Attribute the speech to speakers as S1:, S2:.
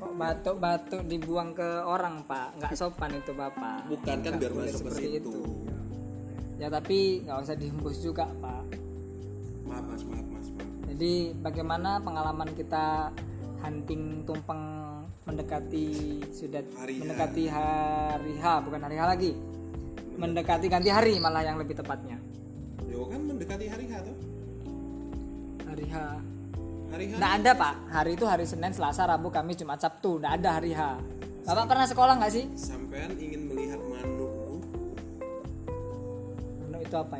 S1: Kok batuk-batuk dibuang ke orang pak? Nggak sopan itu bapak.
S2: Bukan kan
S1: Nggak
S2: biar
S1: boleh
S2: masuk ke
S1: seperti
S2: situ.
S1: Ya tapi nggak usah dihembus juga pak.
S2: Maaf mas, maaf mas, maaf.
S1: Jadi bagaimana pengalaman kita hunting tumpeng mendekati sudah
S2: Hari H.
S1: mendekati hari H bukan hari H lagi mendekati ganti hari malah yang lebih tepatnya
S2: Yo kan mendekati hari H tuh.
S1: hari H
S2: Hari H.
S1: nggak ada pak hari itu hari Senin Selasa Rabu Kamis Jumat Sabtu nggak ada hari H bapak pernah sekolah nggak sih
S2: Sampean ingin melihat manukku
S1: Mano itu apa ya?